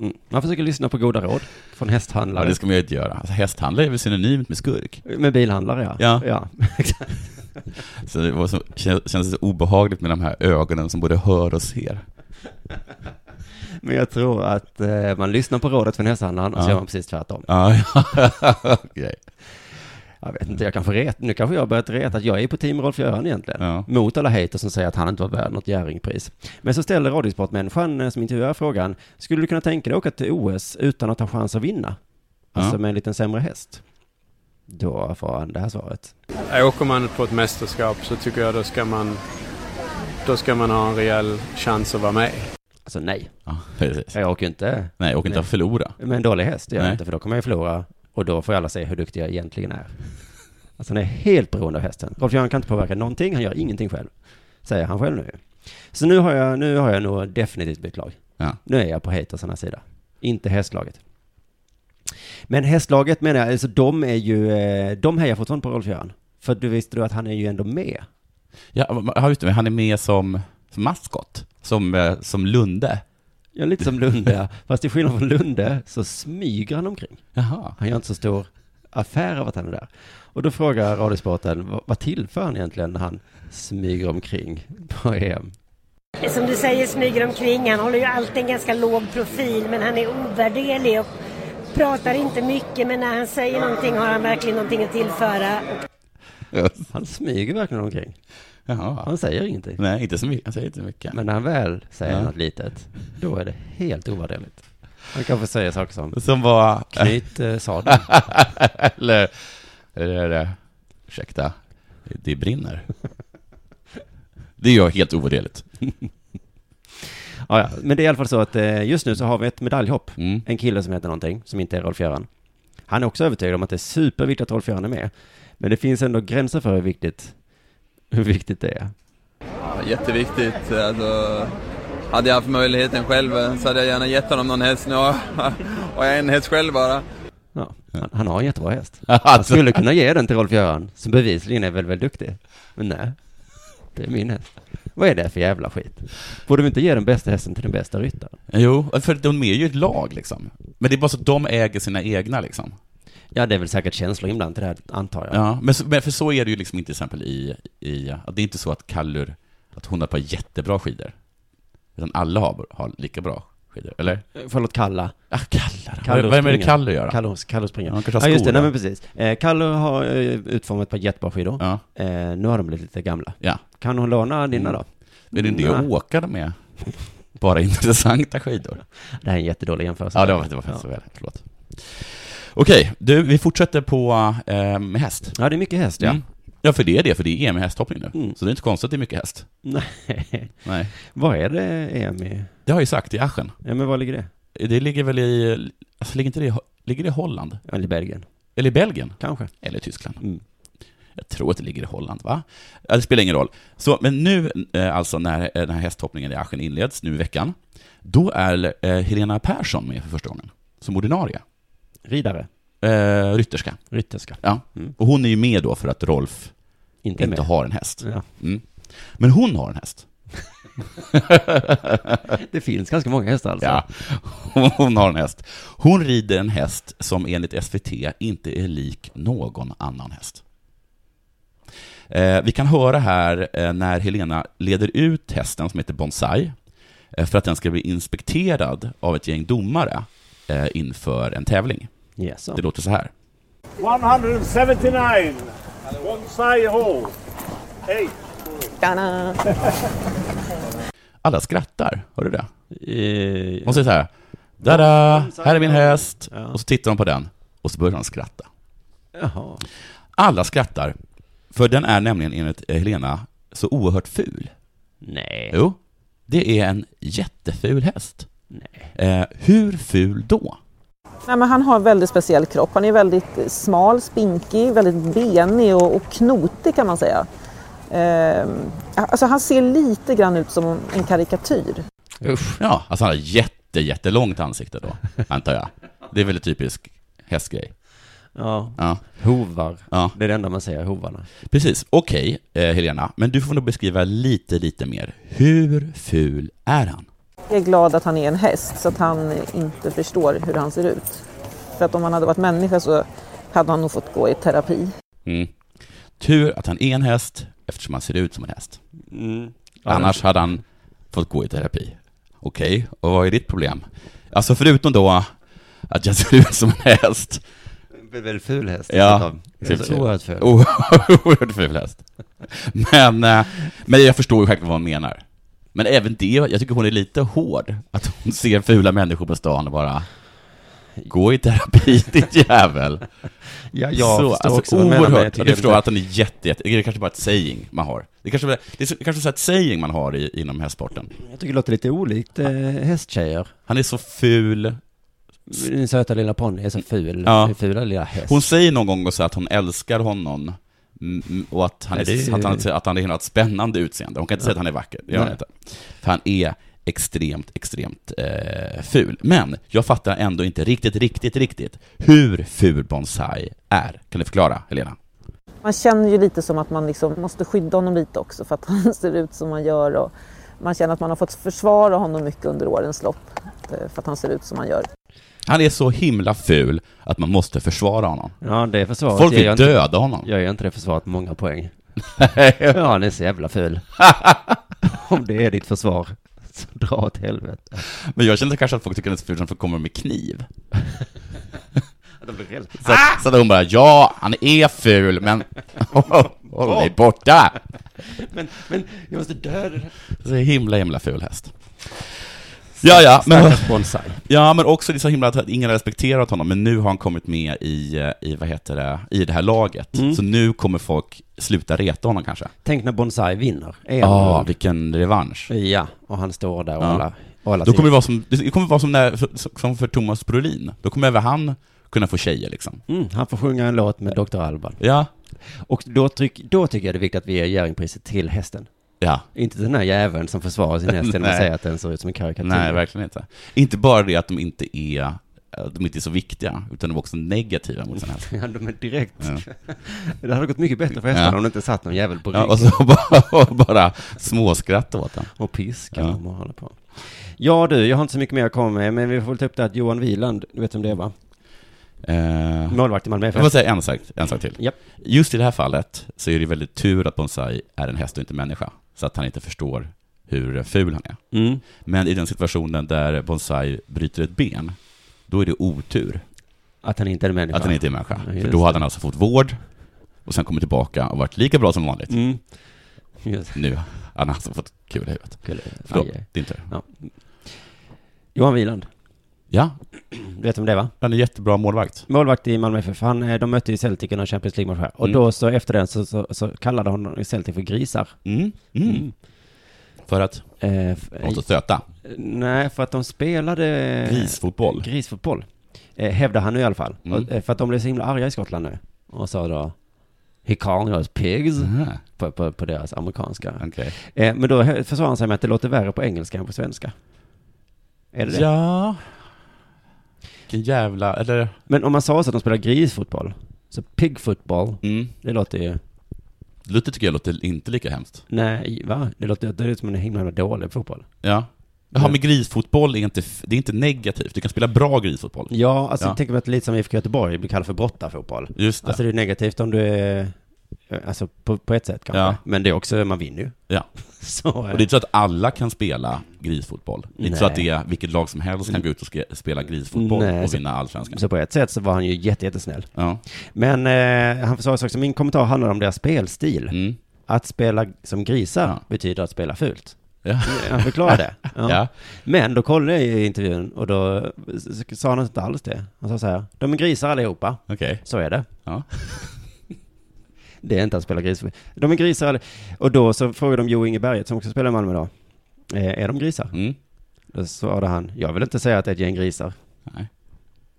Speaker 3: Mm. Man försöker lyssna på goda råd från
Speaker 4: Ja,
Speaker 3: hästhandlare.
Speaker 4: det ska man ju inte göra. Alltså, hästhandlare är väl synonymt med skurk.
Speaker 3: Med bilhandlare, ja.
Speaker 4: Ja.
Speaker 3: exakt.
Speaker 4: Så det var så, kän- känns så obehagligt med de här ögonen som både hör och ser.
Speaker 3: Men jag tror att eh, man lyssnar på rådet från hästhandlaren och så
Speaker 4: Ja.
Speaker 3: gör man precis tvärtom.
Speaker 4: Ja, ja. okej.
Speaker 3: Jag vet inte, jag kanske ret, nu kanske jag har börjat reta att jag är på team Rolf Göran egentligen.
Speaker 4: Ja.
Speaker 3: Mot alla haters som säger att han inte var värd något Jerringpris. Men så ställer radiosportmänniskan eh, som intervjuar frågan, skulle du kunna tänka dig åka till OS utan att ha chans att vinna? Alltså
Speaker 4: Ja.
Speaker 3: med en liten sämre häst. Då får han det här svaret.
Speaker 8: Åker man på ett mästerskap så tycker jag då ska man, då ska man ha en rejäl chans att vara med.
Speaker 3: Alltså nej,
Speaker 4: Ja, precis.
Speaker 3: jag åker ju inte
Speaker 4: Nej, och inte
Speaker 3: Nej.
Speaker 4: att förlora.
Speaker 3: med en dålig häst, det gör jag
Speaker 4: Nej.
Speaker 3: inte, för då kommer jag ju förlora och då får ju alla se hur duktig jag egentligen är. Alltså han är helt beroende av hästen. Rolf Göran kan inte påverka någonting, han gör ingenting själv. Säger han själv nu. Så nu har jag, nu har jag nog definitivt bytt lag.
Speaker 4: Ja.
Speaker 3: Nu är jag på hatersarnas sida. Inte hästlaget. Men hästlaget menar jag, alltså de är ju, eh, de hejar fortfarande på Rolf Göran. För du visste du att han är ju ändå med.
Speaker 4: Ja, ja, just det, men han är med som, som maskot, som, eh, som Lunde.
Speaker 3: Ja, lite som Lunde, fast till skillnad från Lunde så smyger han omkring.
Speaker 4: Jaha.
Speaker 3: Han gör inte så stor affär av att han är där. Och då frågar Radiosporten, "Vad- vad tillför han egentligen när han smyger omkring på E EM?
Speaker 7: Som du säger smyger omkring. Han håller ju alltid en ganska låg profil men han är ovärderlig och pratar inte mycket men när han säger någonting har han verkligen någonting att tillföra.
Speaker 3: Han smyger verkligen omkring.
Speaker 4: Jaha.
Speaker 3: Han säger ingenting.
Speaker 4: Nej, inte så mycket. Han säger inte så mycket.
Speaker 3: Men när han väl säger
Speaker 4: Ja.
Speaker 3: något litet, då är det helt ovärderligt. Han kanske säger saker som
Speaker 4: Som var...
Speaker 3: knyt eh, sadeln.
Speaker 4: Eller... Eller... eh, Ursäkta. Det brinner. Det gör helt ovärderligt.
Speaker 3: Ja, ja. Men det är i alla fall så att eh, just nu så har vi ett medaljhopp.
Speaker 4: Mm.
Speaker 3: En kille som heter någonting, som inte är Rolf-Göran. Han är också övertygad om att det är superviktigt att Rolf-Göran är med. Men det finns ändå gränser för hur viktigt, hur viktigt det är.
Speaker 9: Ja, jätteviktigt. Alltså, hade jag haft möjligheten själv så hade jag gärna gett honom någon häst. Nu har har jag en häst själv bara.
Speaker 3: Ja, han, han har en jättebra häst. Han
Speaker 4: Alltså,
Speaker 3: skulle kunna ge den till Rolf-Göran, som bevisligen är väl, väl duktig. Men nej, det är min häst. Vad är det för jävla skit? Borde vi inte ge den bästa hästen till den bästa ryttaren?
Speaker 4: jo, för de är ju ett lag liksom. Men det är bara så att de äger sina egna liksom.
Speaker 3: Ja, det är väl säkert känslor inblandat i det här, antar jag.
Speaker 4: Ja, men, så- men för så är det ju liksom inte till exempel i, i att det är inte så att Kallur, att hon har ett par jättebra skidor. Utan alla har, har lika bra skidor, eller?
Speaker 3: Förlåt, Kalla.
Speaker 4: Ja, Kallar.
Speaker 3: Kallur
Speaker 4: Vad- Vad är det med
Speaker 3: springer.
Speaker 4: Kallur göra?
Speaker 3: Kalle, Kalle springer.
Speaker 4: Ja, han kanske
Speaker 3: Ja,
Speaker 4: har
Speaker 3: just det.
Speaker 4: skor,
Speaker 3: Nej,
Speaker 4: va?
Speaker 3: men precis. Eh, Kalle har eh, utformat ett par jättebra skidor.
Speaker 4: Ja,
Speaker 3: Eh, nu har de blivit lite gamla.
Speaker 4: ja. Mm.
Speaker 3: Kan hon låna dina då?
Speaker 4: Men det är det
Speaker 3: Nej.
Speaker 4: att åka med. Bara intressanta skidor.
Speaker 3: Det här är en jättedålig jämförelse.
Speaker 4: Ja, det var, det var faktiskt väl. Förlåt. Okej, du, vi fortsätter på eh, med häst.
Speaker 3: Ja, det är mycket häst, ja.
Speaker 4: Mm. Ja, för det är det, för det är EM i hästhoppning nu.
Speaker 3: Mm.
Speaker 4: Så det är inte konstigt att det är mycket häst.
Speaker 3: Nej.
Speaker 4: Nej.
Speaker 3: Vad är det EM i?
Speaker 4: Det har jag ju sagt, i Aschen.
Speaker 3: Ja, men var ligger det?
Speaker 4: Det ligger väl i, alltså ligger inte det i, Ho- ligger det i Holland?
Speaker 3: Eller Belgien,
Speaker 4: Eller i Belgien?
Speaker 3: kanske.
Speaker 4: Eller i Tyskland?
Speaker 3: Mm.
Speaker 4: Jag tror att det ligger i Holland, va? Ja, det spelar ingen roll. Så, men nu, eh, alltså när eh, den här hästhoppningen i Aschen inleds, nu i veckan, då är eh, Helena Persson med för första gången, som ordinarie.
Speaker 3: Ridare,
Speaker 4: Eh, rytterska.
Speaker 3: rytterska,
Speaker 4: Ja.
Speaker 3: Mm.
Speaker 4: Och hon är ju med då för att Rolf
Speaker 3: inte,
Speaker 4: inte har en häst.
Speaker 3: med. Ja.
Speaker 4: Mm. Men hon har en häst.
Speaker 3: Det finns ganska många hästar alltså.
Speaker 4: Ja, hon har en häst. Hon rider en häst som enligt SVT inte är lik någon annan häst. Eh, vi kan höra här eh, när Helena leder ut hästen som heter Bonsai eh, för att den ska bli inspekterad av ett gäng domare eh, inför en tävling.
Speaker 3: Yes, so.
Speaker 4: Det låter så här.
Speaker 10: 179. Bonsai hole. Eight.
Speaker 4: Alla skrattar, hör du det?
Speaker 3: Eh,
Speaker 4: Hon säger så här, da här är min häst. Och så tittar de på den och så börjar de skratta.
Speaker 3: Jaha.
Speaker 4: Alla skrattar, för den är nämligen enligt eh, Helena så oerhört ful.
Speaker 3: Nej.
Speaker 4: Jo, det är en jätteful häst. Eh, hur ful då?
Speaker 11: Nej, men han har en väldigt speciell kropp. Han är väldigt smal, spinkig, väldigt benig och, och knotig kan man säga. Ehm, alltså han ser lite grann ut som en karikatyr.
Speaker 3: Usch.
Speaker 4: Ja, alltså han har jätte, jättelångt ansikte då, antar jag. Det är väl en typisk hästgrej.
Speaker 3: Ja.
Speaker 4: Ja,
Speaker 3: Hovar.
Speaker 4: ja.
Speaker 3: Det är det enda man säger, hovarna.
Speaker 4: precis. Okej, eh, Helena, men du får nog beskriva lite, lite mer. Hur ful är han?
Speaker 11: Jag är glad att han är en häst så att han inte förstår hur han ser ut. För att om han hade varit människa så hade han nog fått gå i terapi.
Speaker 4: Mm. Tur att han är en häst, eftersom han ser ut som en häst.
Speaker 3: Mm.
Speaker 4: Annars hade han fått gå i terapi. Okej, och vad är ditt problem? Alltså förutom då att jag ser ut som en häst.
Speaker 3: En väldigt ful häst.
Speaker 4: Ja,
Speaker 3: Alltså,
Speaker 4: precis.
Speaker 3: Oerhört ful.
Speaker 4: Oerhört ful häst. Men, eh, men jag förstår ju självklart vad hon menar. Men även det, jag tycker hon är lite hård. Att hon ser fula människor på stan och bara Gå i terapi din jävel!
Speaker 3: Ja, jag
Speaker 4: så, alltså,
Speaker 3: förstår också vad du menar, men jag
Speaker 4: oerhört,
Speaker 3: tycker
Speaker 4: jag,
Speaker 3: det är
Speaker 4: förstår
Speaker 3: lite-
Speaker 4: att den är jätte, jätte, det är kanske bara ett saying man har. Det är kanske, det är så- kanske så ett saying man har i, inom hästsporten.
Speaker 3: Jag tycker det låter lite olikt eh, hästtjejer.
Speaker 4: Han är så ful.
Speaker 3: Din söta lilla ponny är så ful.
Speaker 4: Ja.
Speaker 3: Din Fula lilla häst.
Speaker 4: Hon säger någon gång så att hon älskar honom mm, mm, och att han,
Speaker 3: Ja, det
Speaker 4: är,
Speaker 3: är-
Speaker 4: att han, att han har ett spännande utseende. Hon kan inte säga att han är vacker, det gör hon
Speaker 3: Nej.
Speaker 4: inte. För han är extremt, extremt eh, ful. Men jag fattar ändå inte riktigt, riktigt, riktigt hur ful bonsai är. Kan du förklara, Helena?
Speaker 11: Man känner ju lite som att man liksom måste skydda honom lite också för att han ser ut som han gör. Och man känner att man har fått försvara honom mycket under årens lopp eh, för att han ser ut som han gör.
Speaker 4: Han är så himla ful att man måste försvara honom.
Speaker 3: Ja, det försvaret
Speaker 4: Folk
Speaker 3: ger
Speaker 4: vill
Speaker 3: jag inte,
Speaker 4: döda honom.
Speaker 3: Jag gör inte det försvaret många poäng. ja, han är så jävla ful. Om det är ditt försvar, så dra åt helvete.
Speaker 4: Men jag känner kanske att folk tycker att det är så fult när folk kommer med kniv. Så,
Speaker 3: Ah!
Speaker 4: att, så att hon bara, ja, han är ful, men håll dig borta.
Speaker 3: Men, men, jag måste döda den.
Speaker 4: Så himla, himla ful häst. Ja, ja, men,
Speaker 3: Stackars bonsai.
Speaker 4: ja, men också det är så himla att ingen har respekterat honom, men nu har han kommit med i, eh, i, vad heter det, i det här laget. Så nu kommer folk sluta reta honom kanske.
Speaker 3: Tänk när bonsai vinner. Är
Speaker 4: Ja,
Speaker 3: han-
Speaker 4: vilken revansch.
Speaker 3: ja, och han står där och
Speaker 4: Ja.
Speaker 3: alla, och alla
Speaker 4: Då kommer
Speaker 3: ser-
Speaker 4: det vara som, det kommer vara som, när, som för Thomas Brolin. Då kommer även han kunna få tjejer liksom.
Speaker 3: mm, Han får sjunga en låt med Dr. Alban.
Speaker 4: Ja.
Speaker 3: Och då, tryck, då tycker jag det är viktigt att vi ger Jerringpriset till hästen.
Speaker 4: Ja.
Speaker 3: Inte till den här jäveln som försvarar sin häst genom att
Speaker 4: Nej.
Speaker 3: säga att den ser ut som en karikatyr.
Speaker 4: Nej, verkligen inte. Inte bara det att de inte är, att de inte är så viktiga, utan de är också negativa mot sin häst.
Speaker 3: Ja, de är direkt... Det hade gått mycket bättre för hästarna
Speaker 4: Ja.
Speaker 3: om det inte satt någon jävel på
Speaker 4: Ja,
Speaker 3: ryggen
Speaker 4: och så bara, och bara småskratt åt den.
Speaker 3: och piskade
Speaker 4: Ja.
Speaker 3: dem och håller på. Ja du, jag har inte så mycket mer att komma med, men vi får väl ta upp det att Johan Wieland, du vet vem det är va?
Speaker 4: Eh,
Speaker 3: Målvakt i Malmö
Speaker 4: jag
Speaker 3: FF.
Speaker 4: måste säga en sak, en sak till.
Speaker 3: Japp.
Speaker 4: Just i det här fallet så är det väldigt tur att Bonsai är en häst och inte en människa, så att han inte förstår hur ful han är.
Speaker 3: Mm.
Speaker 4: Men i den situationen där Bonsai bryter ett ben, då är det otur
Speaker 3: Att han inte är en människa.
Speaker 4: att han inte är en människa.
Speaker 3: Ja,
Speaker 4: För
Speaker 3: just
Speaker 4: då hade
Speaker 3: det.
Speaker 4: han alltså fått vård, och sen kommit tillbaka och varit lika bra som vanligt.
Speaker 3: Mm. Just
Speaker 4: Nu har han alltså fått kul i huvudet.
Speaker 3: det.
Speaker 4: Förlåt,
Speaker 3: Aj, aj.
Speaker 4: din tur.
Speaker 3: Johan Wieland,
Speaker 4: Ja,
Speaker 3: du vet vem det är va?
Speaker 4: han är jättebra målvakt.
Speaker 3: Målvakt i Malmö FF. Han, eh, de mötte ju Celtic i någon Champions League-match här. Och
Speaker 4: Mm.
Speaker 3: då så efter den så, så, så kallade hon Celtic för grisar.
Speaker 4: Mm. Mm. För att?
Speaker 3: Eh, f- eh,
Speaker 4: Måste stöta.
Speaker 3: Nej, för att de spelade...
Speaker 4: Grisfotboll.
Speaker 3: Grisfotboll. Eh, hävdar han nu i alla fall.
Speaker 4: Mm.
Speaker 3: Och, eh, för att de blev så himla arga i Skottland nu. Och sa då... He calling us pigs.
Speaker 4: Aha,
Speaker 3: På, på, på deras amerikanska.
Speaker 4: Ah, okej.
Speaker 3: Eh, men då hö- försvarar han sig med att det låter värre på engelska än på svenska. Är det det?
Speaker 4: Ja... Vilken jävla... Eller...
Speaker 3: Men om man sa så att de spelar grisfotboll. Så pigfotboll,
Speaker 4: Mm.
Speaker 3: det låter ju...
Speaker 4: Luther tycker jag låter inte lika hemskt.
Speaker 3: Nej, va? Det låter det är som en himla, himla dålig fotboll.
Speaker 4: Ja. Jaha, men grisfotboll är inte, f- det är inte negativt. Du kan spela bra grisfotboll.
Speaker 3: Ja, alltså
Speaker 4: Ja.
Speaker 3: tänk mig att lite som IFK Göteborg blir kallad för brottarfotboll.
Speaker 4: Just det.
Speaker 3: Alltså det är negativt om du är Alltså på, på ett sätt kanske.
Speaker 4: Ja.
Speaker 3: Men det är också, man vinner ju.
Speaker 4: Ja.
Speaker 3: Så, eh.
Speaker 4: och det är inte så att alla kan spela grisfotboll. Det är inte så
Speaker 3: Nej.
Speaker 4: att det är vilket lag som helst kan gå ut och ske- spela grisfotboll och
Speaker 3: så-
Speaker 4: vinna allsvenskan.
Speaker 3: Så på ett sätt så var han ju jätte, jättesnäll.
Speaker 4: Ja.
Speaker 3: Men eh, han sa också, min kommentar handlar om deras spelstil.
Speaker 4: Mm.
Speaker 3: Att spela som grisar betyder att spela fult.
Speaker 4: Ja.
Speaker 3: Han förklarade det.
Speaker 4: Ja.
Speaker 3: Men då kollade jag i intervjun och då s- s- sa han inte alls det. Han sa så här, de är grisar allihopa.
Speaker 4: Okej.
Speaker 3: Så är det.
Speaker 4: Ja.
Speaker 3: Det är inte att spela gris. De är grisar alli- Och då så frågade de Jo Inge Berget som också spelar i Malmö då. Eh, är de grisar?
Speaker 4: Mm.
Speaker 3: Då svarade han, jag vill inte säga att det är ett gäng grisar.
Speaker 4: Nej.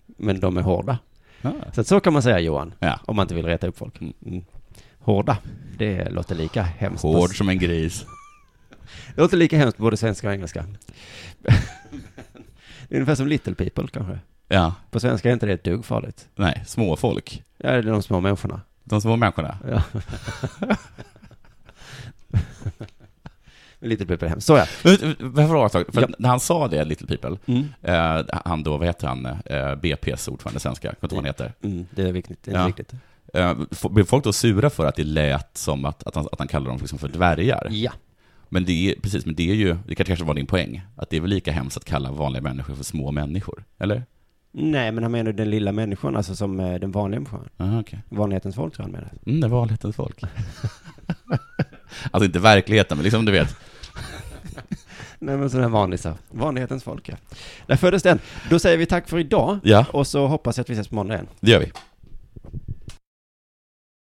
Speaker 3: Men de är hårda.
Speaker 4: Ja.
Speaker 3: Så att så kan man säga Johan,
Speaker 4: Ja.
Speaker 3: om man inte vill reta upp folk. Mm. Hårda, det låter lika hemskt.
Speaker 4: Hård som en gris.
Speaker 3: Det låter lika hemskt på både svenska och engelska. det är ungefär som little people kanske.
Speaker 4: Ja.
Speaker 3: På svenska är inte det ett dugg farligt.
Speaker 4: Nej, små folk.
Speaker 3: Ja, det är de små människorna.
Speaker 4: De små människorna.
Speaker 3: Ja. Little people är hemskt. Så ja.
Speaker 4: Men vet- vet- Varför var det För
Speaker 3: Ja.
Speaker 4: när han sa det, Little People,
Speaker 3: Mm.
Speaker 4: eh, han då, vad heter han, eh, BP's ordförande i svenska, jag kommer inte ihåg vad han heter.
Speaker 3: Mm, det är viktigt. Det är
Speaker 4: Ja.
Speaker 3: viktigt.
Speaker 4: Eh, f- Blev folk då sura för att det lät som att, att, han, att han kallade dem liksom för dvärgar?
Speaker 3: Ja.
Speaker 4: Men det är, precis, men det är ju, det kanske kanske var din poäng, att det är väl lika hemskt att kalla vanliga människor för små människor, eller?
Speaker 3: Nej, men han menar ju den lilla människan, alltså som eh, den vanliga människan.
Speaker 4: Aha, Ah, okej.
Speaker 3: Vanlighetens folk tror jag han menar.
Speaker 4: Mm, det var lättens folk. alltså inte verkligheten, men liksom du vet.
Speaker 3: Nej men sådana här vanlisar. Vanlighetens folk ja. Där föddes den. Då säger vi tack för idag.
Speaker 4: Ja.
Speaker 3: Och så hoppas jag att vi ses på måndag igen.
Speaker 4: Det gör vi.